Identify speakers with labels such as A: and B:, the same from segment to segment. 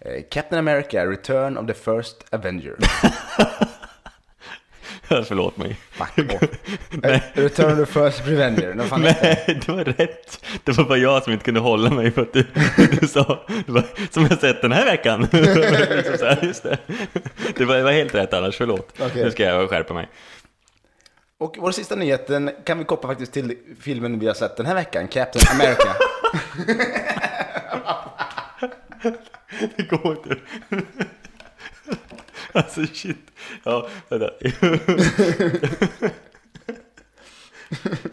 A: Eh, Captain America, Return of the First Avenger.
B: Förlåt mig.
A: Fuck off.
B: Nej.
A: Eh, Return of the First Avenger. Vad fan heter den?
B: Nej, det var rätt. Det var bara jag som inte kunde hålla mig för att du, du sa det var, som jag sett den här veckan. liksom så här, just det. Det, var, det var helt rätt annars, förlåt.
A: Okej.
B: Nu ska jag skärpa mig.
A: Och vår sista nyheten kan vi koppla faktiskt till filmen vi har sett den här veckan, Captain America.
B: Det går inte. Alltså shit. Ja, vänta.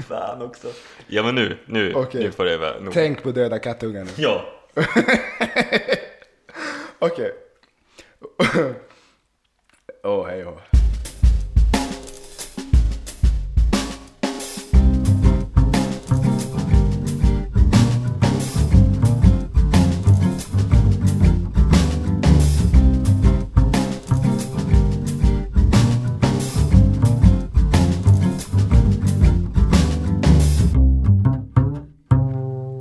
B: Fan också. Ja men nu, nu,
A: Okej.
B: nu får det vara nog.
A: Tänk på döda kattungar nu.
B: Ja.
A: Okej. Åh, hej åh.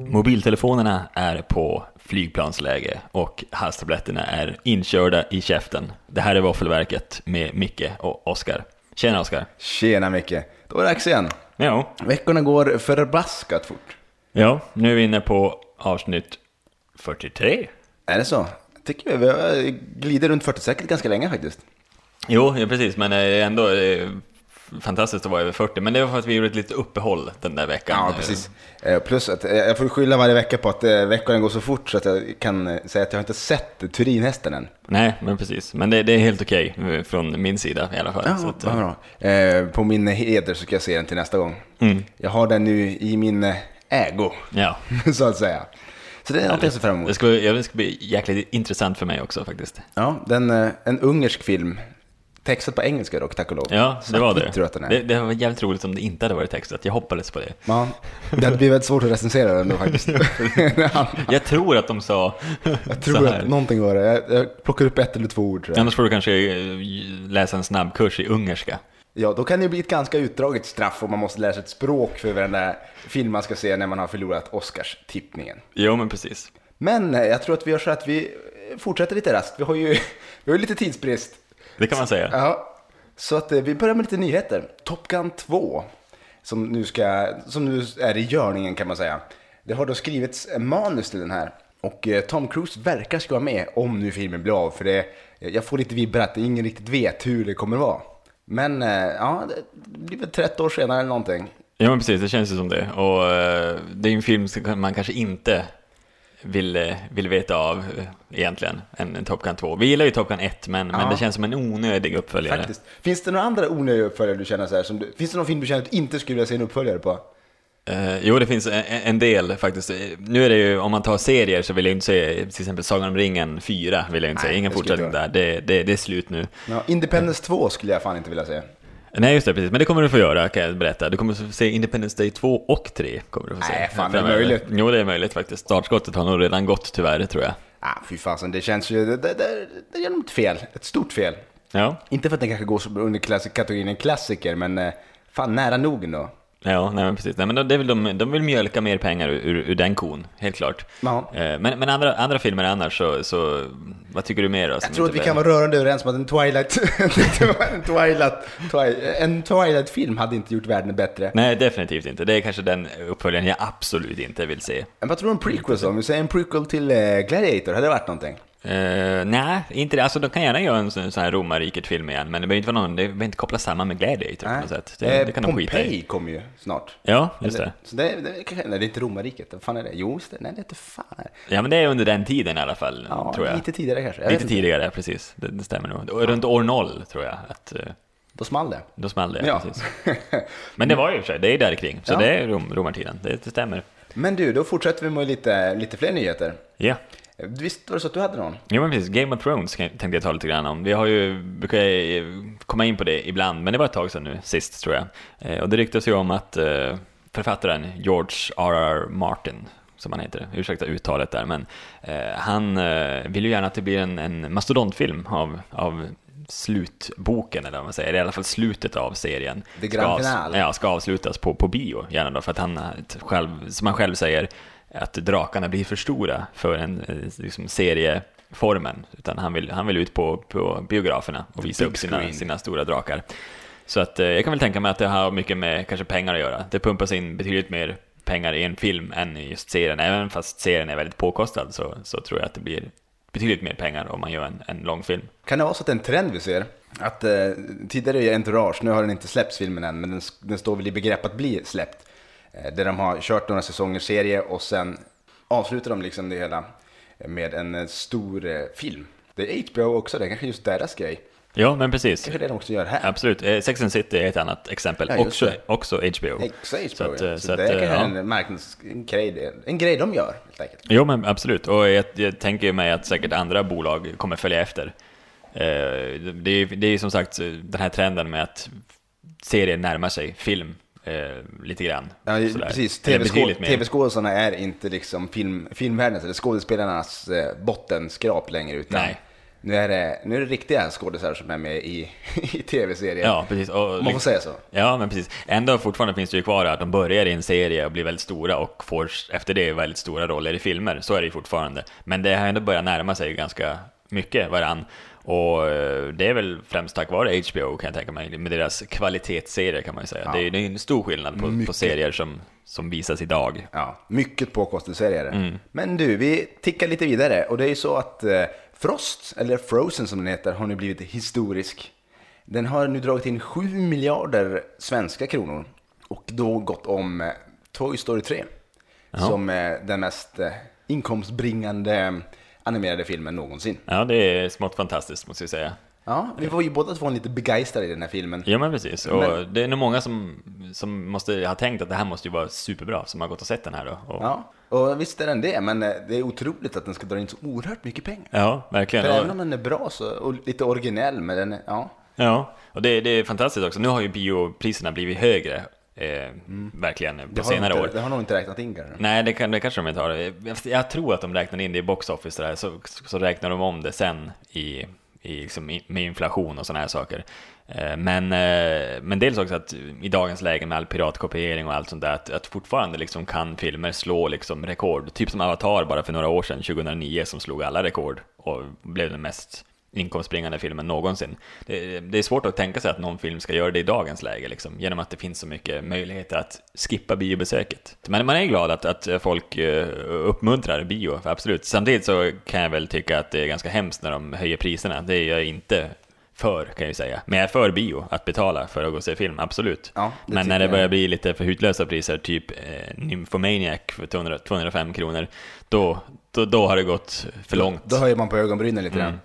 B: Mobiltelefonerna är på flygplansläge och halstabletterna är inkörda i käften. Det här är Våffelverket med Micke och Oskar. Tjena Oskar.
A: Tjena Micke. Då är det dags igen.
B: Ja.
A: Veckorna går förbaskat fort.
B: ja, nu är vi inne på avsnitt 43.
A: Är det så? Jag tycker vi eh, glider runt 40 säkert ganska länge faktiskt.
B: Jo, ja, precis, men eh, ändå eh, fantastiskt att vara över 40. Men det var för att vi gjorde ett litet uppehåll den där veckan.
A: Ja, precis. Eh, Plus att eh, jag får skylla varje vecka på att eh, veckorna går så fort så att jag kan eh, säga att jag inte sett Turinhästen än.
B: Nej, men precis. Men det, det är helt okej eh, från min sida i alla fall. så
A: Ja,
B: att, eh,
A: vad bra. Eh, På min heder så ska jag se den till nästa gång.
B: Mm.
A: Jag har den nu i min eh, ägo,
B: ja.
A: så att säga. Så det är något jag ser fram emot.
B: Det ska, bli- ja, det ska bli jäkligt intressant för mig också faktiskt.
A: Ja, den, eh, en ungersk film. Textad på engelska dock, tack och lov.
B: Ja, det var det.
A: Tror jag att den är.
B: det. Det var jävligt roligt om det inte hade varit textat. Jag hoppades på det.
A: Ja, det hade blivit väldigt svårt att recensera den då faktiskt.
B: Jag tror att de sa
A: jag
B: så
A: tror
B: här.
A: att någonting var det. Jag, jag plockar upp ett eller två ord tror jag.
B: Annars får du kanske eh, läsa en snabbkurs i ungerska.
A: Ja, då kan det ju bli ett ganska utdraget straff om man måste lära sig ett språk för den där film man ska se när man har förlorat Oscars-tippningen.
B: Jo, men precis.
A: Men eh, jag tror att vi gör så att vi eh, fortsätter lite rast. Vi har ju vi har ju lite tidsbrist.
B: Det kan man säga.
A: Ja, så att eh, vi börjar med lite nyheter. Top Gun 2, som nu, ska, som nu är i görningen kan man säga. Det har då skrivits en manus till den här. Och eh, Tom Cruise verkar ska vara med om nu filmen blir av. För det, eh, jag får lite vibbar att ingen riktigt vet hur det kommer vara. Men eh, ja, det blir väl 30 år senare eller någonting.
B: Ja men precis, det känns ju som det. Och eh, det är en film som man kanske inte vill, eh, vill veta av eh, egentligen, än en Top Gun 2. Vi gillar ju Top Gun 1, men, men det känns som en onödig uppföljare.
A: Faktiskt. Finns det några andra onödiga uppföljare du känner så här? Som du, finns det någon film du känner att du inte skulle vilja se en uppföljare på?
B: Eh, jo, det finns en, en del faktiskt. Eh, Nu är det ju, om man tar serier så vill jag ju inte se, till exempel Sagan om ringen 4 vill jag inte
A: Nej,
B: se, ingen
A: det skulle
B: fortsättning
A: inte
B: där. Det, det, det är slut nu.
A: Ja, Independence 2 skulle jag fan inte vilja se.
B: Nej, just det, precis. Men det kommer du få göra, kan jag berätta. Du kommer få se Independence Day 2 och 3. Kommer du få se.
A: Nej, fan, det är
B: Framöver.
A: möjligt.
B: Jo, det är möjligt faktiskt. Startskottet har nog redan gått tyvärr, tror jag.
A: Ah, fy fasen, det känns ju... Det, det, det, det gör nog ett fel. Ett stort fel.
B: Ja.
A: Inte för att den kanske går som under klassik, kategorin en klassiker, men eh, fan nära nog ändå.
B: Ja, nej men precis. Nej, men de- det vill de, de vill mjölka mer pengar ur, ur, ur den kon, helt klart.
A: Ja.
B: Eh, Men, men andra, andra filmer annars så, så, vad tycker du mer då?
A: Jag tror att vi kan vara rörande överens om att en Twilight... en Twilight... Twi- En Twilight-film hade inte gjort världen bättre.
B: Nej, definitivt inte. Det är kanske den uppföljaren jag absolut inte vill se.
A: Men vad tror du om prequels då? Om vi säger en prequel till eh, Gladiator, hade det varit någonting?
B: Eh, nej, inte det. Alltså de kan gärna göra en sån sån här romarriket-film igen, men det behöver inte vara någon, det behöver inte kopplas samman med Gladiator på något sätt. Det,
A: Eh,
B: det kan de skita i.
A: Pompeji kommer ju snart.
B: Ja, just det.
A: Så det, det, kanske- nej, det är inte romarriket. Vad fan är det? Jo, just det, nej, det är inte fan. är det?
B: Ja, men det är under den tiden i alla fall,
A: Ja,
B: tror jag.
A: lite tidigare kanske. Jag vet
B: Lite
A: inte.
B: tidigare, precis. Det, det stämmer nog. Och Runt år noll, tror jag, att eh,
A: Då small det.
B: då small det.
A: Ja.
B: Precis. Men det var ju i och för sig, det är där kring. Så
A: Ja.
B: det är rom, romartiden, det, det stämmer.
A: Men du, då fortsätter vi med lite, lite fler nyheter.
B: Ja.
A: Visst var det så att du hade någon?
B: Jo men precis, Game of Thrones kan- tänkte jag ta lite grann om. Vi har ju, brukar ju komma in på det ibland, men det var ett tag sedan nu, sist tror jag. Eh, och det ryktas ju om att eh, författaren George R.R. Martin, som han heter, ursäkta uttalet där, men eh, han eh, vill ju gärna att det blir en, en mastodontfilm av, av slutboken, eller vad man säger, i alla fall slutet av serien.
A: The
B: Ska
A: grand
B: avs-
A: finale.
B: Ja, ska avslutas på, på bio, gärna då, för att han eh, t- själv, som han själv säger, att drakarna blir för stora för en eh, liksom, serie formen, utan han vill, han vill ut på, på biograferna och visa
A: big
B: upp sina,
A: screen.
B: sina stora drakar. Så att, eh, jag kan väl tänka mig att det har mycket med kanske pengar att göra. Det pumpas in betydligt mer pengar i en film än i just serien. Även fast serien är väldigt påkostad så, så tror jag att det blir betydligt mer pengar om man gör en, en lång film.
A: Kan det vara så att det är en trend vi ser? Att eh, tidigare är Entourage, nu har den inte släppts filmen än, men den, den står väl i begrepp att bli släppt. Eh, där de har kört några säsonger serie och sen avslutar de liksom det hela med en eh, stor eh, film. Det är HBO också, det är kanske just deras grej.
B: Ja, men precis.
A: Kanske det de också gör här.
B: Absolut. Eh, Sex and the City är ett annat exempel.
A: Ja, just
B: också,
A: det.
B: också HBO.
A: Exa HBO,
B: Så
A: så,
B: att, eh,
A: ja. så,
B: så att,
A: det är
B: eh,
A: kanske
B: ja.
A: en marknads... En grej, det- en grej de gör, helt enkelt.
B: Jo, men absolut. Och jag, jag tänker ju mig att säkert andra bolag kommer följa efter. Eh, det, är- det är ju som sagt eh, den här trenden med att serier närmar sig film eh, lite grann.
A: Ja, ju-
B: Sådär.
A: precis.
B: Eller betydligt
A: TV-skå-
B: mer.
A: TV-skådisarna är inte liksom film, filmvärldens eller skådespelarnas eh, bottenskrap längre. Utan
B: Nej.
A: Nu, är det, nu är det riktiga skådisar som är med i, i tv-serier.
B: Ja, precis. Och, liksom-
A: Om Man får säga så.
B: Ja, men precis. Ändå fortfarande finns det ju kvar att de börjar i en serie och blir väldigt stora och får efter det väldigt stora roller i filmer. Så är det ju fortfarande. Men det har ändå börjat närma sig ganska mycket varann. Och eh, det är väl främst tack vare HBO kan jag tänka mig, med deras kvalitetsserier kan man ju säga. Det, är, det är en stor skillnad på, på serier som, som visas idag.
A: Ja, mycket påkostade serier. Men du, vi tickar lite vidare. Och det är ju så att eh, Frost, eller Frozen som den heter, har nu blivit historisk. Den har nu dragit in 7 miljarder svenska kronor. Och då gått om eh, Toy Story 3.
B: Jaha.
A: Som eh, den mest eh, inkomstbringande eh, animerade filmen någonsin.
B: Ja, det är smått fantastiskt måste jag säga.
A: Ja, vi var ju båda två lite begeistrade i den här filmen.
B: Ja men precis, och
A: Men-
B: det är nog många som, som måste ha tänkt att det här måste ju vara superbra som har gått och sett den här då. Och,
A: Ja, och visst är den det, men eh, det är otroligt att den ska dra in så oerhört mycket pengar.
B: ja, verkligen.
A: För
B: Och-
A: även om den är bra så, och lite originell, men den är, ja.
B: Ja, och det, det är fantastiskt också. Nu har ju biopriserna blivit högre, eh, verkligen, på
A: Det har de
B: senare
A: inte,
B: år. Mm.
A: Det har nog inte räknat in kanske.
B: Nej, det, kan, det kanske de inte har. Jag, jag tror att de räknar in det i box office, där, så, så räknar de om det sen i, i, liksom, i, med inflation och sådana här saker. Eh, Men, eh, men dels också att i dagens läge med all piratkopiering och allt sånt där, att, att fortfarande liksom kan filmer slå liksom rekord. Typ som Avatar bara för några år sedan, 2009, som slog alla rekord och blev den mest inkomstbringande filmen någonsin. Det, det är svårt att tänka sig att någon film ska göra det i dagens läge, liksom, genom att det finns så mycket möjligheter att skippa biobesöket. Men man är glad att, att folk eh, uppmuntrar bio, för absolut. Samtidigt så kan jag väl tycka att det är ganska hemskt när de höjer priserna. Det är jag inte för, kan jag ju säga. Men jag är för bio, att betala för att gå och se film, absolut.
A: Ja, det
B: Men när
A: tycker
B: det
A: jag.
B: börjar bli lite för hutlösa priser, typ eh, Nymphomaniac för 200, 205 kronor, då, då, då har det gått för långt.
A: Då höjer man på ögonbrynen lite
B: Mm.
A: grann.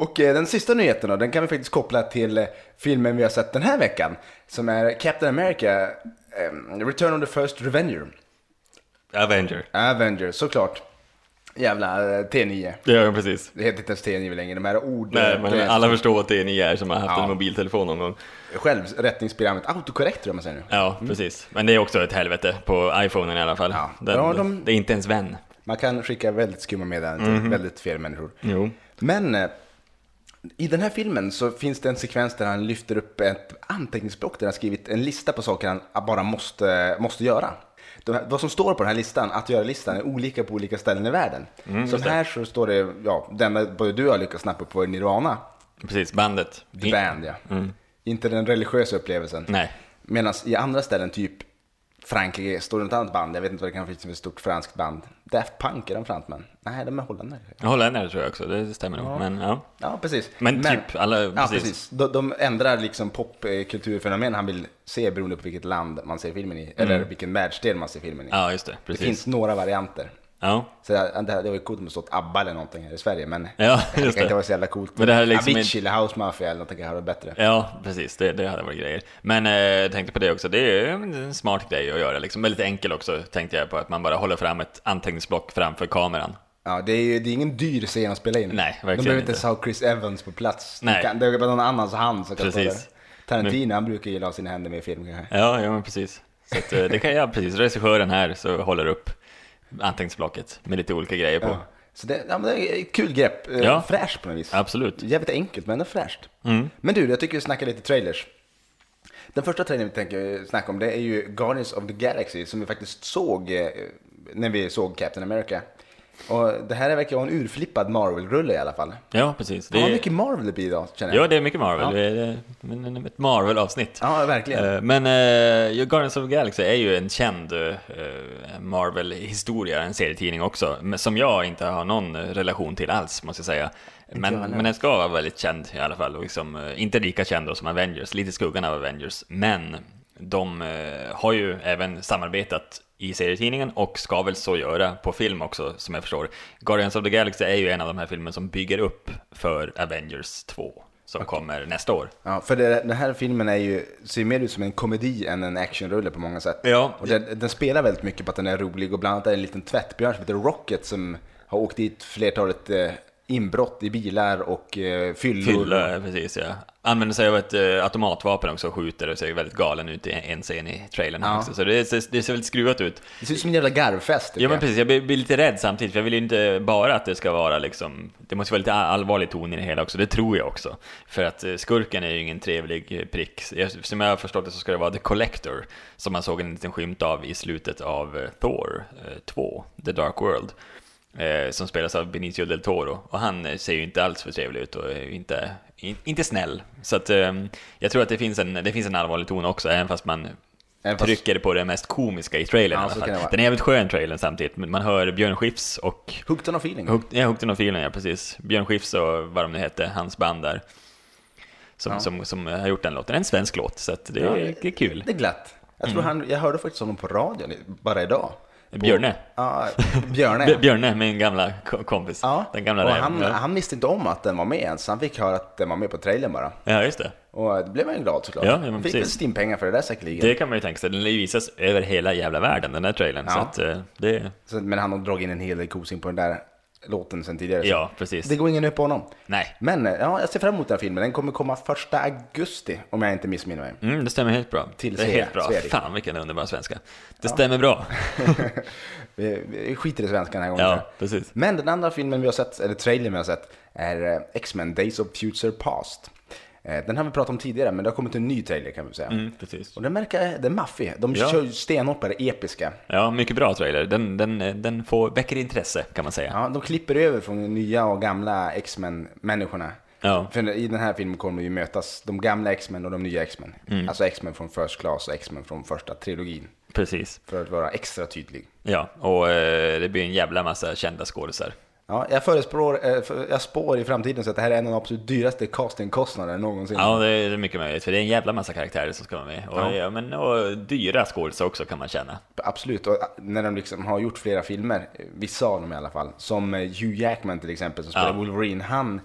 A: Och eh, den sista nyheten då, den kan vi faktiskt koppla till eh, filmen vi har sett den här veckan. Som är Captain America, eh, Return of the First Revenger.
B: Avenger.
A: Avenger, såklart. Jävla eh, T9.
B: Ja, precis.
A: Det heter inte ens T9 längre, de här eh, orden.
B: Nej, men
A: det är
B: alla förstår att det är ni är som har haft
A: Ja.
B: en mobiltelefon någon gång.
A: Självrättningsprogrammet, autokorrekt tror jag man säger nu.
B: Ja, precis. Men det är också ett helvete på iPhonen i alla fall.
A: Mm. Ja.
B: Den,
A: Ja, de-
B: Det är inte ens vän.
A: Man kan skicka väldigt skumma meddelanden till
B: Mhm.
A: väldigt fel människor.
B: Jo.
A: Men eh, i den här filmen så finns det en sekvens där han lyfter upp ett anteckningsblock där han skrivit en lista på saker han bara måste, måste göra. De här, vad som står på den här listan, att göra-listan, är olika på olika ställen i världen. som här så står det, ja, den där både du och jag lyckats snappa upp var Nirvana,
B: Precis, bandet.
A: The Band ja. Inte den religiösa upplevelsen.
B: Mm. Nej.
A: Medan i andra ställen, typ Frankrike, står det något annat band, jag vet inte vad det kan finnas för ett stort franskt band. Daft Punk, är de fransmän? Nej, de är holländare.
B: Jag håller med dig, tror jag också, det stämmer nog. Men ja.
A: Ja, precis.
B: Men typ alla-
A: Ja,
B: precis.
A: precis. De, de ändrar liksom popkulturfenomen han vill se beroende på vilket land man ser filmen i. Eller vilken världsdel man ser filmen i.
B: Mm. ja, just det.
A: det
B: Precis.
A: finns några varianter.
B: Ja.
A: Så det, det hade varit coolt om det stått ABBA eller någonting här i Sverige, men
B: Ja,
A: det
B: just
A: kan inte
B: det.
A: vara så jävla coolt.
B: Men det här är liksom
A: Avicii eller House Mafia eller någonting hade varit bättre.
B: Ja, precis. Det, det hade varit grejer. Men eh, jag tänkte på det också. Det är en smart grej att göra. Liksom. Väldigt enkel också, tänkte jag på. Att man bara håller fram ett anteckningsblock framför kameran.
A: Ja, det är ju det är ingen dyr scen att spela in.
B: Nej, verkligen
A: De behöver
B: inte.
A: inte ens ha Chris Evans på plats.
B: Nej.
A: Nej. Kan, det är bara någon annans hand som kan
B: Precis.
A: stå där. Tarantino, han brukar gilla att ha sina händer med i film kanske.
B: Ja, ja men precis. Så att, eh, det kan jag precis. Regissören här så håller upp anteckningsblocket med lite olika grejer på.
A: Ja. Så det, ja, men det är ett kul grepp. Eh,
B: Ja.
A: Fräscht på något vis.
B: Absolut.
A: Jävligt enkelt men ändå fräscht.
B: Mm.
A: Men du, jag tycker vi snackar lite trailers. Den första trailern vi tänker snacka om det är ju Guardians of the Galaxy som vi faktiskt såg eh, när vi såg Captain America. Och det här verkar vara en urflippad Marvel-rulle i alla fall.
B: Ja, precis.
A: Det... Vad
B: är,
A: mycket Marvel det blir idag, känner jag.
B: ja, det är mycket Marvel.
A: Ja.
B: Det är eh, ett Marvel-avsnitt.
A: Ja, verkligen.
B: Eh, Men eh, Guardians of the Galaxy är ju en känd eh, Marvel-historia, en serietidning också, men som jag inte har någon relation till alls, måste jag säga. Men,
A: jag heller.
B: men den ska vara väldigt känd i alla fall, och liksom, eh, inte lika känd då som Avengers, lite i skuggan av Avengers, men de eh, har ju även samarbetat i serietidningen och ska väl så göra på film också, som jag förstår. Guardians of the Galaxy är ju en av de här filmerna som bygger upp för Avengers 2, som kommer nästa år.
A: Ja, för det, den här filmen är ju, ser mer ut som en komedi än en actionrulle på många sätt.
B: Ja.
A: Och den, den spelar väldigt mycket på att den är rolig och bland annat är det en liten tvättbjörn som heter Rocket som har åkt dit flertalet eh, inbrott i bilar och eh, fyllor.
B: Fylla, precis ja. Använder sig av ett eh, automatvapen också och skjuter och ser väldigt galen ut i en scen i trailern här
A: Ja.
B: också. Så det ser, det ser väldigt skruvat ut.
A: Det ser ut som en jävla garvfest. tycker
B: Ja men
A: jag.
B: precis, jag blir, blir lite rädd samtidigt för jag vill ju inte bara att det ska vara liksom, det måste vara lite allvarlig ton i det hela också, det tror jag också. För att eh, skurken är ju ingen trevlig eh, prick. Jag- Som jag har förstått det så ska det vara The Collector, som man såg en liten skymt av i slutet av eh, Thor eh, 2, The Dark World. eh, Som spelas av Benicio del Toro och han eh, ser ju inte alls för trevlig ut och är ju inte, in- inte snäll. Så att eh, jag tror att det finns, en, det finns en allvarlig ton också, även fast man
A: Även fast-
B: trycker på det mest komiska i trailern
A: Ja,
B: i alla
A: så
B: fall.
A: kan det vara.
B: Den är jävligt skön trailern samtidigt, men man hör Björn Skifs och
A: Hooked on a feeling.
B: Hooked- ja, Hooked on a Feeling, ja precis. Björn Skifs och vad de nu hette, hans band där. Som,
A: Ja.
B: som, som har gjort den låten. En svensk låt, så att det,
A: Ja,
B: är, det är kul.
A: Det är glatt. Jag, tror
B: Mm.
A: han, jag hörde faktiskt honom på radion i- bara idag. På-
B: Björne.
A: Ja, Björne.
B: Bj- Björne, min gamla ko- kompis.
A: ja.
B: Den gamla
A: och
B: räven.
A: han,
B: ja.
A: han visste inte om att den var med ens. Han fick höra att den var med på trailern bara.
B: ja, just det.
A: Och det blev man ju glad såklart.
B: Ja, ja, men
A: Han fick
B: precis.
A: väl stimpengar för det där säkerligen.
B: Det kan man ju tänka sig. Den lär ju visas över hela jävla världen, den där trailern. Så
A: Ja.
B: att eh, det...
A: Så, men han har dragit in en hel del kosing på den där låten sen tidigare. så
B: Ja, precis.
A: Det går ingen upp på honom.
B: Nej.
A: Men eh, ja, jag ser fram emot den här filmen. Den kommer komma första augusti om jag inte missminner mig.
B: Mm, det stämmer helt bra.
A: Till
B: det är
A: Svea-
B: helt bra.
A: Sverige.
B: Fan vilken underbar svenska. Det stämmer bra.
A: Vi, vi skiter i svenskan den här gången.
B: Ja,
A: tror jag.
B: precis.
A: Men den andra filmen vi har sett, eller trailern vi har sett, är eh, X-Men Days of Future Past. Eh, Den har vi pratat om tidigare, men det har kommit en ny trailer kan vi säga.
B: Mm, precis.
A: Och den verkar, den är maffig. De
B: Ja.
A: kör ju stenhårt på det episka.
B: Ja, mycket bra trailer. Den, den, den får, väcker intresse kan man säga.
A: Ja, de klipper över från de nya och gamla X-Men-människorna.
B: Ja.
A: För i den här filmen kommer ju mötas de gamla X-Men och de nya X-Men. Alltså X-Men från First Class och X-Men från första trilogin.
B: Precis.
A: För att vara extra tydlig.
B: Ja, och eh, det blir en jävla massa kända skådisar.
A: Ja, jag förespår, eh, för- jag spår i framtiden så att det här är en av de absolut dyraste castingkostnaderna någonsin.
B: Ja, det är mycket möjligt, för det är en jävla massa karaktärer som ska vara med. Och,
A: Ja.
B: ja. men, och dyra skådisar också kan man känna.
A: Absolut, och eh, när de liksom har gjort flera filmer, eh, vissa av dem i alla fall, som eh, Hugh Jackman till exempel som spelar
B: Ja.
A: Wolverine, han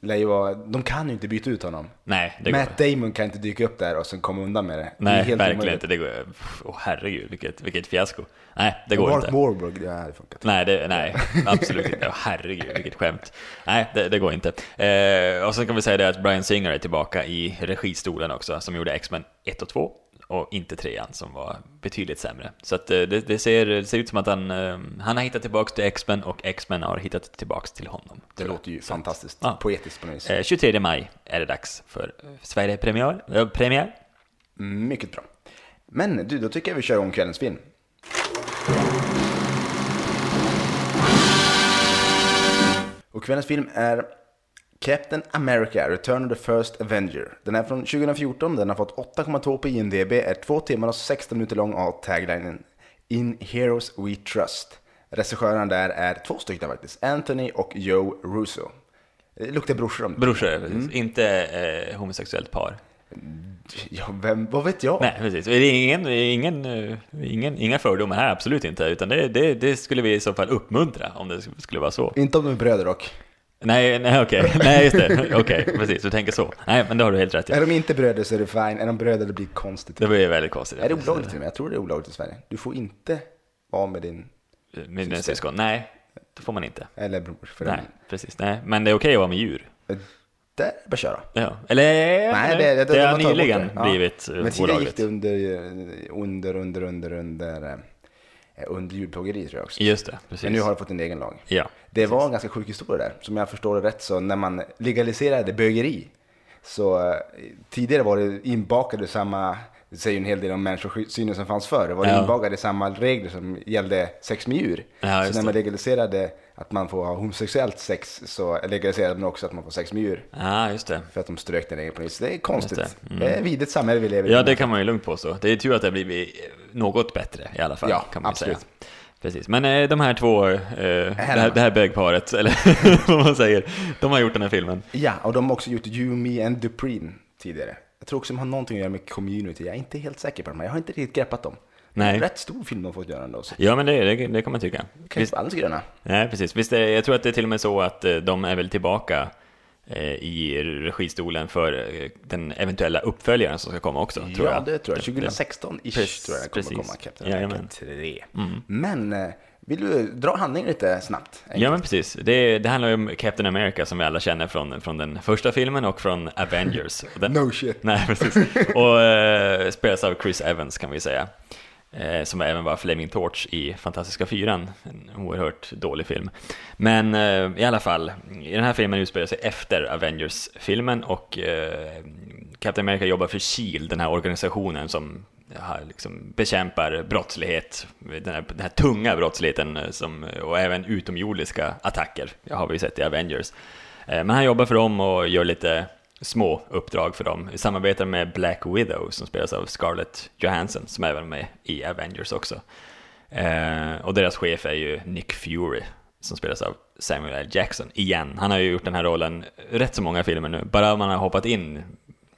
A: lär ju vara, de kan ju inte byta ut honom.
B: Nej, det går
A: Matt Damon kan inte dyka upp där och sen komma undan med det. det är
B: Nej,
A: helt
B: verkligen
A: omöjligt.
B: inte. Det går pff, Åh herregud, vilket, vilket fiasko. Nej, det går
A: Mark
B: inte.
A: Wahlberg, det hade funkat.
B: Nej, det, nej, absolut inte. Åh, Herregud, vilket skämt. Nej, det, det går inte. Eh, och sen kan vi säga det att Brian Singer är tillbaka i registolen också, som gjorde X-Men 1 och 2 och inte 3 som var betydligt sämre. Så att, eh, det, det, ser, det ser ut som att han, eh, han har hittat tillbaka till X-Men och X-Men har hittat tillbaka till honom.
A: Det låter ju fantastiskt
B: Ja.
A: poetiskt på något vis.
B: Eh, 23 maj är det dags för eh, Sverigepremiär. Eh, premiär.
A: Mycket bra. Men du, då tycker jag vi kör igång kvällens film. Och kvällens film är Captain America, Return of the First Avenger. Den är från 2014, den har fått 8,2 på IMDB, är 2 timmar och 16 minuter lång och har taglinen In Heroes We Trust. Regissören där är två stycken faktiskt, Anthony och Joe Russo. Det luktar brorsor om det.
B: Brorsor,
A: Mm.
B: precis. inte eh, homosexuellt par.
A: Ja, vem, vad vet jag?
B: Nej, precis. Det är ingen, det är ingen, eh, ingen, inga fördomar här, absolut inte. Utan det, det, det skulle vi i så fall uppmuntra om det skulle vara så.
A: Inte om de är bröder dock.
B: Nej, nej okej. Nej, just det. Okej, precis. Du tänker så. Nej, men det har du helt rätt i.
A: Är de inte bröder så är det fine, är de bröder det blir konstigt.
B: Det blir väldigt konstigt.
A: Är det olagligt till och med? Jag tror det är olagligt i Sverige. Du får inte vara med din,
B: Med dina syskon? Nej, det får man inte.
A: eller bror för
B: Nej,
A: den.
B: precis. Nej, men det är okej att vara med djur.
A: Där, bara köra.
B: Ja. Eller, nej, det,
A: de har
B: har
A: tagit bort
B: nyligen
A: det. Ja.
B: blivit eh,
A: Men tidigare gick
B: olagligt.
A: det under, eh, under, under, under, under, eh, under djurplågeri tror jag också.
B: Just det, precis.
A: Men nu har det fått en egen lag.
B: Ja.
A: Det var en ganska sjuk historia där. Som jag förstår det rätt så när man legaliserade bögeri så eh, tidigare var det inbakade samma Det säger ju en hel del om människosynen som fanns förr. Det var
B: Ja.
A: inbagade i samma regler som gällde sex med djur.
B: Ja,
A: så
B: just
A: när man
B: det.
A: legaliserade att man får ha homosexuellt sex så legaliserade man också att man får sex med djur.
B: Ja, Ah, just det.
A: För att de strök den regeln på nytt. Det är konstigt.
B: Just Mm.
A: Det, är ett vidrigt samhälle vi lever i.
B: Ja, det kan man ju lugnt påstå. Det är tur att det har blivit något bättre i alla fall.
A: Ja,
B: kan man ju
A: absolut.
B: Säga. Precis. Men eh, de här två, eh, det, här, det här bögparet, eller vad man säger, de har gjort den här filmen.
A: Ja, och de har också gjort You, Me and Dupreen tidigare. Jag tror också de har någonting att göra med community. Jag är inte helt säker på dem, men jag har inte riktigt greppat dem.
B: Nej.
A: Det är en rätt stor film de har fått göra ändå. Så
B: Ja, men det, det, det kan man tycka.
A: kan ju
B: Visst,
A: vara alldeles gröna.
B: nej, precis. Visst, eh, jag tror att det är till och med så att eh, de är väl tillbaka eh, i registolen för eh, den eventuella uppföljaren som ska komma också, tror
A: ja,
B: jag.
A: det tror jag.
B: Det-
A: 2016-ish
B: Precis,
A: tror jag det kommer
B: precis.
A: komma, Captain
B: Jajamän. Mm.
A: America 3. Men eh, vill du dra handlingen lite snabbt?
B: Ja men precis, det, det handlar ju om Captain America som vi alla känner från, från den första filmen och från Avengers. Och den,
A: No shit.
B: Nej precis, och eh, spelas av Chris Evans kan vi säga. Eh, som även var Flaming Torch i Fantastiska Fyran, en oerhört dålig film. Men eh, i alla fall, i den här filmen utspelar sig efter Avengers-filmen och eh, Captain America jobbar för SHIELD, E den här organisationen som har liksom bekämpar brottslighet, den här, den här tunga brottsligheten eh, som, och även utomjordiska attacker, har vi ju sett i Avengers. Eh, Men han jobbar för dem och gör lite små uppdrag för dem. Vi samarbetar med Black Widow som spelas av Scarlett Johansson som även är med i Avengers också. Eh, och deras chef är ju Nick Fury som spelas av Samuel L. Jackson igen. Han har ju gjort den här rollen rätt så många filmer nu. Bara man har hoppat in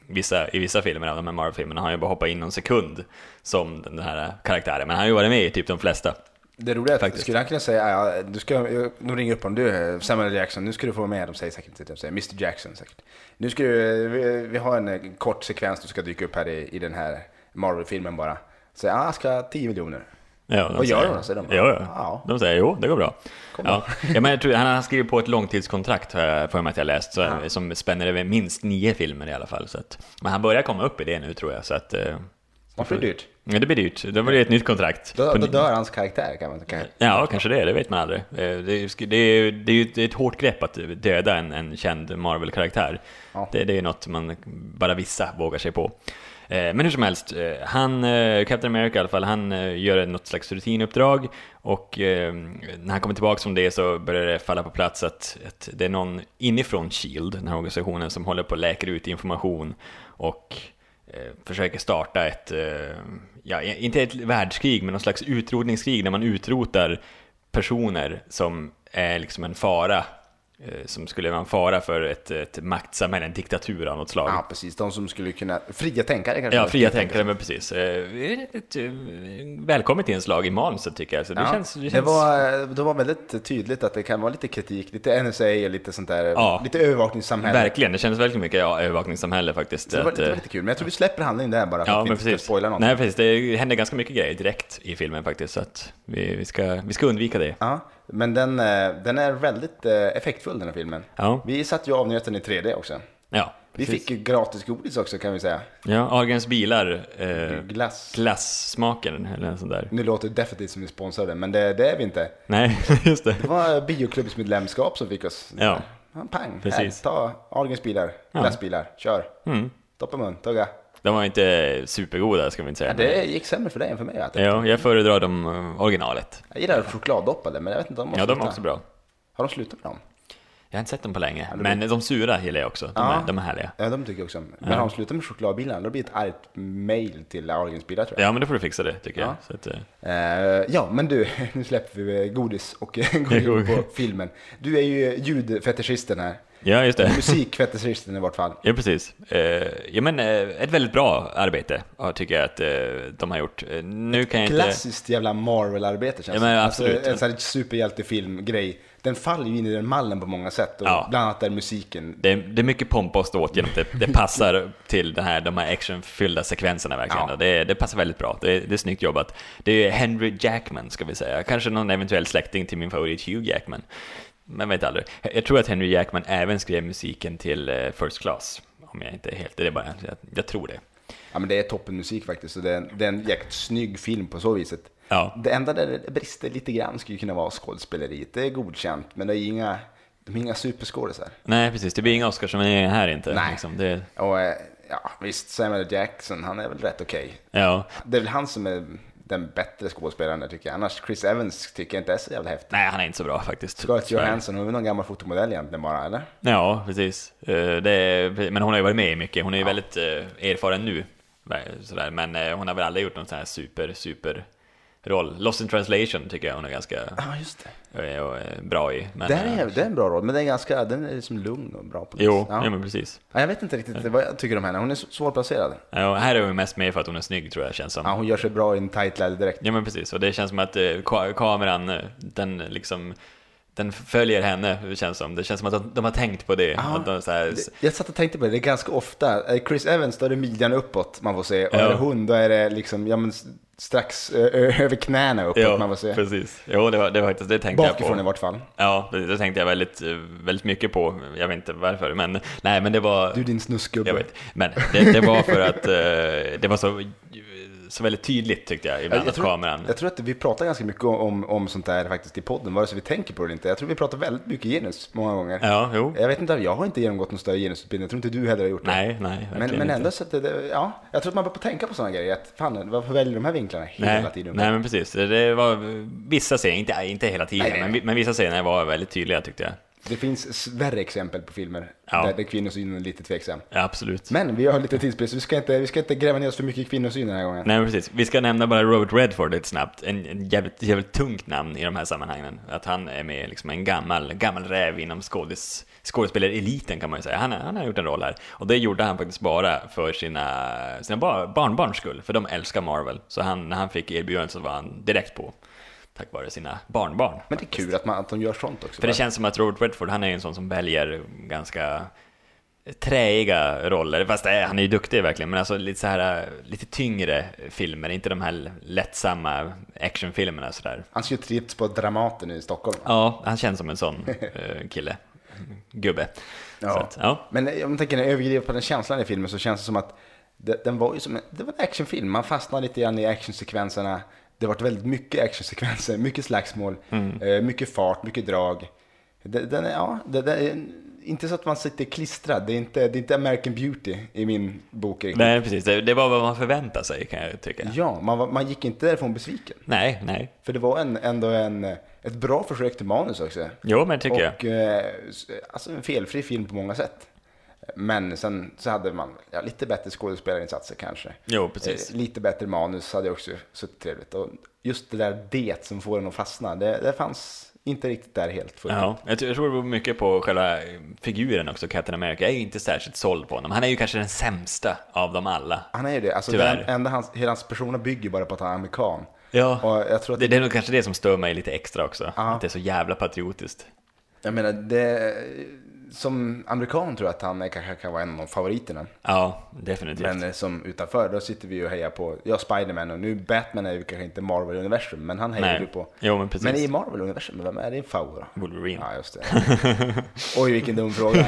B: vissa, i vissa filmer av de här Marvel-filmerna har han ju bara hoppat in någon sekund som den här karaktären. Men han har ju varit med i typ de flesta.
A: Det roliga är att
B: Faktiskt.
A: skulle han kunna säga, "Ja, ja, du ska, de ringer upp honom, du eh, Samuel L. Jackson, nu ska du få vara med, de säger säkert inte det, de säger Mr Jackson säkert. Nu ska du, eh, vi, vi har en eh, kort sekvens du ska dyka upp här i, i den här Marvel-filmen bara. Så ja, jag ska ha 10 miljoner.
B: Ja, de
A: Vad gör
B: säger-
A: de? Säger de bara.
B: Ja, ja.
A: Ja.
B: De säger jo, det går bra. Ja. ja, men jag tror, han har skrivit på ett långtidskontrakt har jag för mig att jag läst, så, som spänner över minst nio filmer i alla fall. Så att, men han börjar komma upp i det nu tror jag, så att... eh,
A: Varför är det dyrt?
B: Ja, det blir dyrt. Det blir ett nytt kontrakt.
A: Då,
B: På
A: då
B: ni-
A: dör hans karaktär kan man kan,
B: Ja, kanske det. Det vet man aldrig. Eh, Det är, det är, det är ju ett- ett hårt grepp att döda en, en känd Marvel-karaktär.
A: Ja.
B: Det, det är ju något man bara vissa vågar sig på. Eh, Men hur som helst, eh, han, eh, Captain America i alla fall, han eh, gör något slags rutinuppdrag och eh, när han kommer tillbaka från det så börjar det falla på plats att, att det är någon inifrån Shield, E den här organisationen, som håller på och läker ut information och eh, försöker starta ett, eh, ja, e- inte ett världskrig, men någon slags utrotningskrig där man utrotar personer som är liksom en fara, eh, som skulle vara en fara för ett, ett maktsamhälle, en diktatur av något slag.
A: Ja, precis. De som skulle kunna... Fria tänkare kanske?
B: Ja, fria tänkare, men precis. Eh, Ett eh, välkommet inslag i manuset tycker jag. Så det,
A: Ja.
B: känns, det, känns,
A: Det, var, eh, det var väldigt tydligt att det kan vara lite kritik, lite NSA och lite sånt där,
B: Ja.
A: lite övervakningssamhälle.
B: Verkligen, det kändes väldigt mycket ja, övervakningssamhälle faktiskt.
A: Så det, var,
B: Att,
A: det var
B: eh,
A: lite kul, men jag tror vi släpper handlingen där bara för
B: Ja,
A: att vi
B: men
A: inte ska
B: precis.
A: spoila någonting.
B: Nej, precis. Det händer ganska mycket grejer direkt i filmen faktiskt, så att vi, vi, ska, vi ska undvika det.
A: Ja, men den, eh, den är väldigt eh, effektfull den här filmen.
B: Ja,
A: Vi satt ju och avnjöt den i 3D också.
B: ja
A: Vi
B: precis.
A: fick ju gratis godis också kan vi säga.
B: Ja, Ahlgrens bilar, eh,
A: Glass.
B: glassmaken eller en sån där.
A: Nu låter det definitivt som vi sponsrade, men det, det är vi inte.
B: Nej, just det.
A: Det var bioklubbsmedlemskap som fick oss.
B: Ja.
A: pang,
B: Precis.
A: Här, ta Ahlgrens bilar,
B: Ja.
A: glassbilar, kör. Mm. Toppa mun, tugga.
B: De var inte supergoda, ska vi inte säga.
A: Det gick sämre för dig än för mig. Vet du.
B: Ja, jag föredrar de eh, originalet.
A: Jag gillar chokladdoppade, men jag vet inte om de har
B: Ja, de
A: slutat.
B: var också bra.
A: Har de slutat med dem?
B: Jag har inte sett dem på länge, men de sura gillar jag också. De,
A: Ja.
B: är, de är härliga.
A: Ja, de tycker jag också om. Men har de slutat med chokladbilarna, då blir det ett argt mail till Ahlgrens bilar tror jag.
B: Ja, men då får du fixa det, tycker jag.
A: Ja.
B: Så att, eh,
A: Eh, ja, men du, nu släpper vi eh, godis och går in på filmen. Du är ju eh, ljudfetischisten här.
B: ja, just det.
A: Musikfetischisten i vart fall.
B: Ja, precis. Eh, ja, men eh, ett väldigt bra arbete ja, tycker jag att eh, de har gjort. Eh, nu kan jag inte...
A: Klassiskt jävla Marvel-arbete känns
B: Ja, men
A: det.
B: absolut.
A: Alltså, en sån här superhjältefilm-grej. Den faller ju in i den mallen på många sätt. Och
B: Ja.
A: Bland annat där musiken.
B: Det är, det är mycket pompa och ståt genom att det, det passar till den här, de här actionfyllda sekvenserna verkligen.
A: Ja.
B: Och Det, det passar väldigt bra, det, är- det är snyggt jobbat. Det är Henry Jackman ska vi säga, kanske någon eventuell släkting till min favorit Hugh Jackman. Men vet aldrig. Jag jag tror att Henry Jackman även skrev musiken till eh, First Class, om jag inte är helt... Det är bara, jag, jag tror det.
A: Ja, men det är toppenmusik faktiskt. Så det, är en- det är en jäkligt snygg film på så viset.
B: Ja.
A: Det enda där det brister lite grann skulle ju kunna vara skådespeleriet. Det är godkänt, men det är inga, de är inga superskådisar.
B: Nej, precis. Det blir inga Oscars som är här inte.
A: Nej.
B: Liksom. Det,
A: Och eh, ja visst, Samuel Jackson, han är väl rätt okej.
B: Ja.
A: Det är väl han som är den bättre skådespelaren där, tycker jag. Annars, Chris Evans tycker jag inte är så jävla häftig.
B: Nej, han är inte så bra faktiskt.
A: Scarlett
B: Tyvärr.
A: Johansson, hon är väl någon gammal fotomodell egentligen bara, eller?
B: Ja, precis. Eh, Det är, men hon har ju varit med i mycket. Hon är ju väldigt eh, erfaren nu. Ver- Sådär. Men eh, hon har väl aldrig gjort någon sån här super, super roll. Lost in translation tycker jag hon är ganska
A: Ja, just det.
B: eh, och, eh, bra i. Men,
A: Det, här
B: eh,
A: är, det är en bra roll, men den är ganska, den är liksom lugn och bra på något
B: Jo,
A: sätt.
B: ja.
A: ja.
B: men precis.
A: Ja, Jag vet inte riktigt vad jag tycker om henne, hon är så- svårplacerad.
B: Ja, och här är hon mest med för att hon är snygg tror jag känns som.
A: Ja,
B: Ja,
A: hon gör sig bra i en tight läderdräkt.
B: men precis. Och det känns som att eh, ka kameran, eh, den liksom den följer henne, det känns som. Det känns som att de- de har tänkt på det.
A: Ja.
B: Att de så här, s-
A: Jag satt och tänkte på det, det är ganska ofta, eh, Chris Evans, då är det midjan uppåt man får se, och
B: Ja.
A: är det hon, då är det liksom, ja men s- strax ö, ö, över knäna uppåt man får se.
B: precis. Jo, det var, det var faktiskt, det tänkte jag på.
A: Bakifrån i vart fall.
B: Ja, det det tänkte jag väldigt, eh, väldigt mycket på. Jag vet inte varför, men nej, men det var...
A: Du din snuskgubbe.
B: jag vet, men det, det var för att eh, det var så, så väldigt tydligt tyckte jag ibland
A: Jag- jag
B: att kameran...
A: Jag tror att vi pratar ganska mycket om, om sånt där faktiskt i podden, vare sig vi tänker på det eller inte. Jag tror vi pratar väldigt mycket genus många gånger.
B: Ja, jo.
A: Jag vet inte, jag har inte genomgått någon större genusutbildning, jag tror inte du heller har gjort det.
B: Nej, nej.
A: Men,
B: verkligen
A: men ändå
B: inte.
A: så att det- det, ja, jag tror att man bör tänka på sådana grejer. Att fan, varför väljer de här vinklarna hela
B: Nej,
A: tiden?
B: nej, men precis. Det var vissa scener, inte, inte hela tiden,
A: Nej, nej, nej.
B: Men, vi- men vissa scener var väldigt tydliga tyckte jag.
A: Det finns värre exempel på filmer
B: Ja.
A: där, där kvinnosynen är lite tveksam.
B: Ja, absolut.
A: Men vi har lite tidsbrist, så vi ska inte, vi ska inte gräva ner oss för mycket i kvinnosyn den här gången.
B: Nej, men precis. Vi ska nämna bara Robert Redford lite snabbt. En, en jävligt, jävligt tungt namn i de här sammanhangen. Att han är med liksom en gammal, gammal räv inom skådis, skådespelareliten kan man ju säga. Han, har- han har gjort en roll här. Och det gjorde han faktiskt bara för sina, sina bar, barnbarns skull. För de älskar Marvel. Så han, när han fick erbjudandet så var han direkt på. Tack vare sina barnbarn.
A: Men det är kul att, man, att de gör sånt också.
B: För det känns som att Robert Redford, han är ju en sån som väljer ganska träiga roller, fast det är, han är ju duktig verkligen, men alltså lite så här eh, lite tyngre filmer, inte de här lättsamma actionfilmerna sådär.
A: Han ser ju trips på Dramaten i Stockholm.
B: Ja, han känns som en sån eh, kille, gubbe. Ja. Så
A: Ja.
B: att, ja.
A: Men om jag tänker när jag överdriver på den känslan i filmen så känns det som att det, den var ju som en, det var en actionfilm. Man fastnade lite grann i actionsekvenserna. Det har varit väldigt mycket actionsekvenser, mycket slagsmål, eh, mycket fart, mycket drag. Det, den är, ja, det, det är inte så att man sitter klistrad. Det är inte, det är inte American Beauty i min bok. riktigt.
B: Nej, precis, det, det var vad man förväntade sig kan jag tycka.
A: Ja, man, var- man gick inte därifrån besviken.
B: Nej, nej.
A: För det var en, ändå en, ett bra försök till manus också.
B: Jo, men det tycker jag.
A: och, eh, s- Alltså en felfri film på många sätt. Men sen så hade man ja, lite bättre skådespelarinsatser kanske.
B: Jo, precis.
A: Eh, lite bättre manus hade också suttit trevligt. Och just det där det som får en att fastna, det, det fanns inte riktigt där helt fullt.
B: Ja, jag tror- jag tror det beror mycket på själva figuren också, Captain America. Jag är ju inte särskilt såld på honom. Han är ju kanske den sämsta av dem alla.
A: Han är ju det. Alltså,
B: Tyvärr.
A: den, enda hans, hela hans persona bygger bara på att han är amerikan.
B: Ja.
A: Och jag tror att
B: Det, det är nog kanske det som stör mig lite extra också. Att det är så jävla patriotiskt.
A: Jag menar, det, som amerikan tror jag att han är, kanske kan vara en av de favoriterna.
B: Ja, definitivt.
A: Men eh, som utanför, då sitter vi ju och hejar på, ja Spiderman och nu Batman är ju kanske inte Marvel-universum, men han hejar
B: Nej.
A: ju på.
B: Jo, men precis.
A: Men i Marvel-universum, vem är din favorit då?
B: Wolverine.
A: Ja, just det. Oj, vilken dum fråga.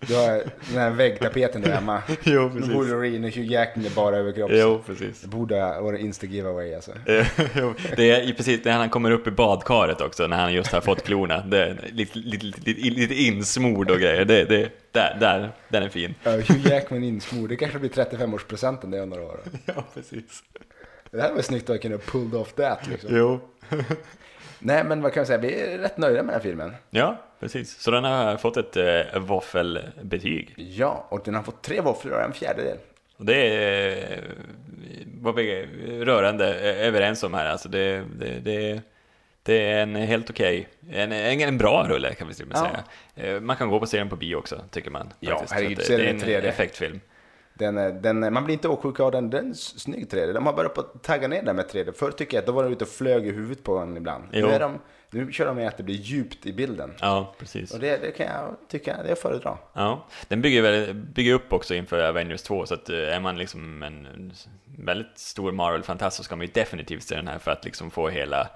A: Du har den här väggtapeten där hemma.
B: Jo, precis.
A: Wolverine och Hugh Jackman är bara överkropp.
B: Jo, precis.
A: Det borde ha varit insta-giveaway alltså.
B: Eh, jo, det är ju precis när han kommer upp i badkaret också, när han just har fått klorna. Det är lite, lite, lite, lite insmord och grejer. Det, det, där, där, den är fin.
A: Ja, Hugh Jackman insmord, det kanske blir 35-årspresenten det om några år.
B: Ja, precis.
A: Det här var snyggt att kunna pulled off that liksom.
B: Jo.
A: Nej, men vad kan jag säga, vi är rätt nöjda med den här filmen.
B: Ja, precis. Så den har fått ett äh, våffelbetyg.
A: Ja, och den har fått tre våfflor och en fjärdedel.
B: Och det är, eh, vad vi är rörande eh, överens om här. Alltså det, det, det, det är en helt okej, en, en, en bra rulle kan vi till och med
A: Ja.
B: säga. Eh, Man kan gå på serien på bio också, tycker man.
A: Ja,
B: faktiskt. Så
A: herregud,
B: att
A: ser
B: det, det
A: den i
B: är en
A: 3D.
B: effektfilm.
A: Den, är- den, är- man blir inte åksjuk av den. Den är s- snygg 3D. De har börjat på att tagga ner den med 3D. Förr tycker jag att då var de ute och flög i huvudet på en ibland. Nu,
B: Jo.
A: är de, nu kör de med att det blir djupt i bilden.
B: Ja, precis.
A: Och det, det kan jag tycka, det är att föredra.
B: Ja, den bygger, väl, bygger upp också inför Avengers 2, så att eh, är man liksom en väldigt stor Marvel-fantast så ska man ju definitivt se den här för att liksom få hela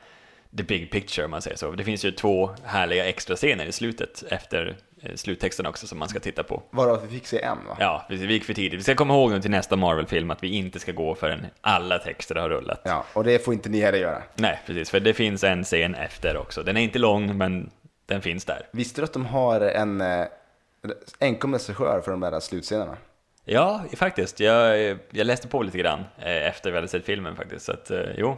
B: the big picture om man säger så. Det finns ju två härliga extra scener i slutet efter eh, sluttexten också som man ska titta på.
A: Varav vi fick se en va?
B: Ja, vi vi gick för tidigt. Vi ska komma ihåg nu till nästa Marvel-film att vi inte ska gå förrän alla texter har rullat.
A: Ja, och det får inte ni heller göra.
B: Nej, precis, för det finns en scen efter också. Den är inte lång, men den finns där.
A: Visste du att de har en eh, enkom regissör för de där slutscenerna?
B: Ja, faktiskt. Jag, jag läste på lite grann eh, efter vi hade sett filmen faktiskt. Så att, eh, jo,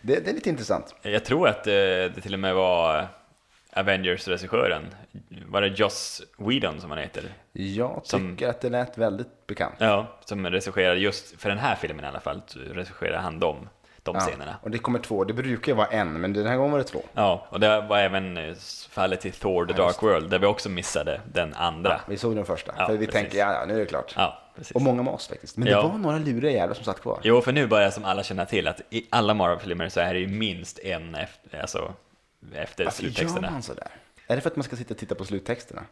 A: Det, det är lite intressant.
B: jag tror att eh, det till och med var Avengers-regissören. Var det Joss Whedon som han heter?
A: Jag tycker
B: Som-
A: att det lät väldigt bekant.
B: Ja, som regisserade just för den här filmen i alla fall. Regisserade han dem, de scenerna.
A: Och det kommer två, det brukar ju vara en, men den här gången var det två.
B: Ja, och det var även eh, fallet till Thor The Dark World där vi också missade den andra.
A: Vi såg den första,
B: Ja,
A: för vi
B: precis.
A: tänkte ja, ja, nu är det klart.
B: Ja, precis.
A: Och många med oss faktiskt. Men
B: Ja.
A: det var några luriga jävlar som satt kvar.
B: Jo, för nu börjar som alla känna till att i alla Marvel-filmer så är det ju minst en efter, alltså, efter
A: Alltså, gör
B: sluttexterna.
A: man sådär? Är det för att man ska sitta och titta på sluttexterna?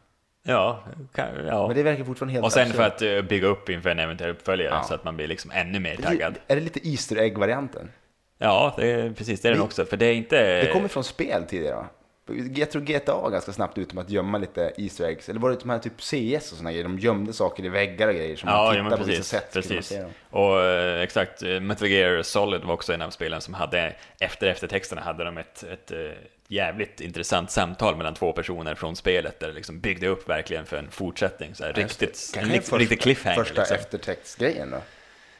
B: Ja, kan, ja.
A: Men det verkar fortfarande helt
B: Och sen
A: absurt.
B: för att eh, bygga upp inför en eventuell uppföljare
A: Ja.
B: så att man blir liksom ännu mer
A: Det är li-
B: taggad.
A: alltså, Är det lite Easter Egg-varianten?
B: Ja, det är, precis, det är den också. För det är inte...
A: Det kommer från spel tidigare va? Jag tror GTA var ganska snabbt ute med att gömma lite Easter eggs. Eller var det de här typ CS och sådana grejer? De gömde saker i väggar och grejer som man
B: Ja, ja
A: tittar
B: men
A: på vissa
B: precis.
A: sätt. så kunde man
B: precis.
A: se dem.
B: Och eh, exakt, eh, Metal Gear Solid var också en av spelen som hade, efter eftertexterna hade de ett, ett eh, jävligt intressant samtal mellan två personer från spelet där det liksom byggde upp verkligen för en fortsättning. Så här, riktigt, en
A: Kanske
B: rikt, riktig cliffhanger.
A: Första
B: liksom.
A: eftertextgrejen då,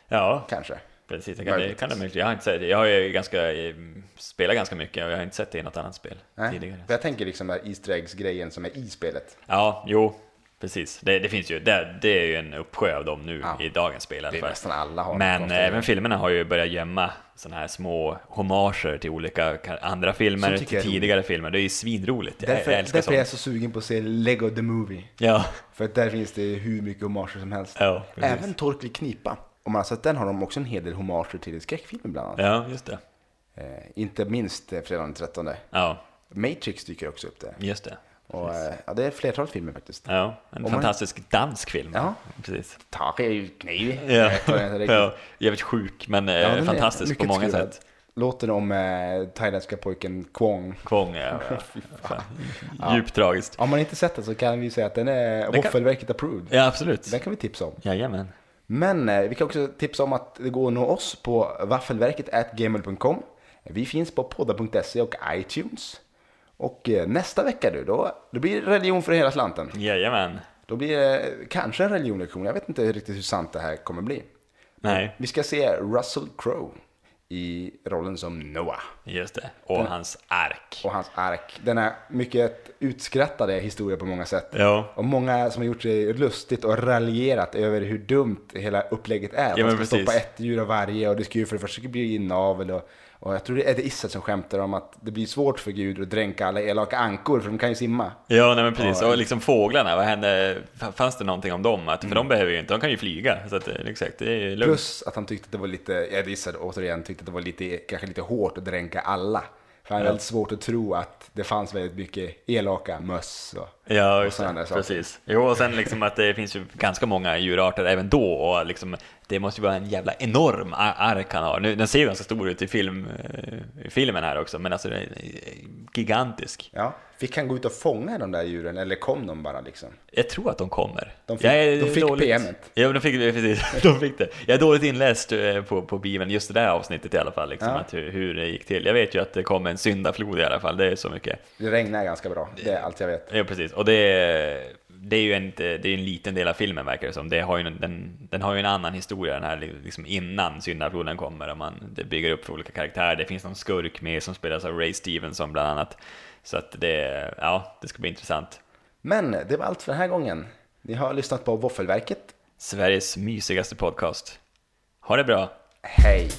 B: ja,
A: kanske.
B: precis. Det kan, det
A: Möjligt.
B: kan det möjligt. Jag har inte sett det. Jag har ju ganska, eh, spelat ganska mycket och jag har inte sett det i något annat spel
A: Nej?
B: tidigare.
A: För Jag tänker liksom den här Easter Eggs-grejen som är i spelet.
B: Ja, jo, precis. Det, det finns ju, det, det är ju en uppsjö av dem nu
A: Ja.
B: i dagens spel i alla
A: Det är
B: fall.
A: nästan alla har.
B: Men
A: konstiga grejer.
B: även filmerna har ju börjat gömma sådana här små hommager till olika ka- andra filmer,
A: Så tycker
B: till
A: jag är
B: tidigare filmer. Det är ju svinroligt. Jag,
A: Därför,
B: jag älskar
A: därför är jag
B: sånt.
A: så sugen på att se Lego the Movie.
B: Ja,
A: För att där finns det hur mycket hommager som helst.
B: ja, precis.
A: även Torkel Knipa. Om man har sett den har de också en hel del hommager till skräckfilmer bland annat.
B: ja, just det.
A: Eh, inte minst eh, fredagen den 13.
B: Ja,
A: Matrix dyker också upp där.
B: just det.
A: Och, eh, ja, det är flertalet filmer faktiskt.
B: Ja, en
A: man-
B: fantastisk dansk film.
A: Ja.
B: Precis.
A: Tarjei Kniv.
B: Ja.
A: Jag vet inte riktigt.
B: Ja, jävligt sjuk, men eh,
A: Ja, den är
B: fantastisk på
A: mycket
B: många
A: skruvad.
B: sätt.
A: Låten om eh, thailändska pojken Kwong.
B: Kvång, ja. Fan. Djupt tragiskt.
A: Om man inte sett den så kan vi säga att den är
B: kan-
A: Våffelverket approved.
B: Ja, absolut.
A: Den kan vi tipsa om.
B: Jajamän.
A: Men eh, vi kan också tipsa om att det går att nå oss på waffelverket.gmail.com. Vi finns på podda.se och iTunes. Och eh, nästa vecka du, då, då blir det religion för hela slanten.
B: Jajamän.
A: Då blir det eh, kanske en religionlektion. Jag vet inte riktigt hur sant det här kommer bli.
B: Nej,
A: Vi ska se Russell Crowe i rollen som Noah.
B: just det. Och hans ark.
A: Och hans ark. Denna mycket utskrattade historia på många sätt.
B: Ja.
A: Och många som har gjort sig lustigt och raljerat över hur dumt hela upplägget är. Att
B: men
A: man ska
B: precis.
A: stoppa ett djur av varje och det ska ju för det första bli inavel och, och jag tror det är Eddie Issa som skämtar om att det blir svårt för Gud att dränka alla elaka ankor för de kan ju simma.
B: Ja, nej, men precis.
A: Ja.
B: Och liksom fåglarna, vad hände? f- Fanns det någonting om dem? Att, för de behöver ju inte, de kan ju flyga. Så att, eh, exakt, det är ju lugnt.
A: Mm. Plus att han tyckte att det var lite, Eddie Issa återigen tyckte att det var lite, kanske lite hårt att dränka alla. För han är väldigt svårt att tro att det fanns väldigt mycket elaka möss och,
B: ja,
A: och
B: just
A: sådana
B: det,
A: där saker.
B: precis. Jo, och sen liksom att det finns ju ganska många djurarter även då. Och liksom, det måste ju vara en jävla enorm a- ark han har. Nu, den ser ju ganska stor ut i, film, eh, i filmen här också, men alltså den är eh, gigantisk.
A: Ja, fick han gå ut och fånga de där djuren eller kom de bara liksom?
B: Jag tror att de kommer.
A: De fick-
B: jag är
A: de fick
B: dåligt-
A: PM:et.
B: Ja, de fick, precis, de fick det. Jag är dåligt inläst eh, på, på Bibeln, just det där avsnittet i alla fall, liksom,
A: Ja.
B: att hur, hur det gick till. Jag vet ju att det kom en syndaflod i alla fall, det är så mycket.
A: Det regnar ganska bra, det är allt jag vet.
B: Ja, precis. Och det, det är ju en, det är en liten del av filmen verkar det som. Det har ju, en- den, den har ju en annan historia, den här liksom innan syndafloden kommer. Och man, det bygger upp för olika karaktärer. Det finns någon skurk med som spelas av Ray Stevenson bland annat. Så att det, ja, det ska bli intressant.
A: Men det var allt för den här gången. Ni har lyssnat på Våffelverket.
B: Sveriges mysigaste podcast. Ha det bra!
A: Hej!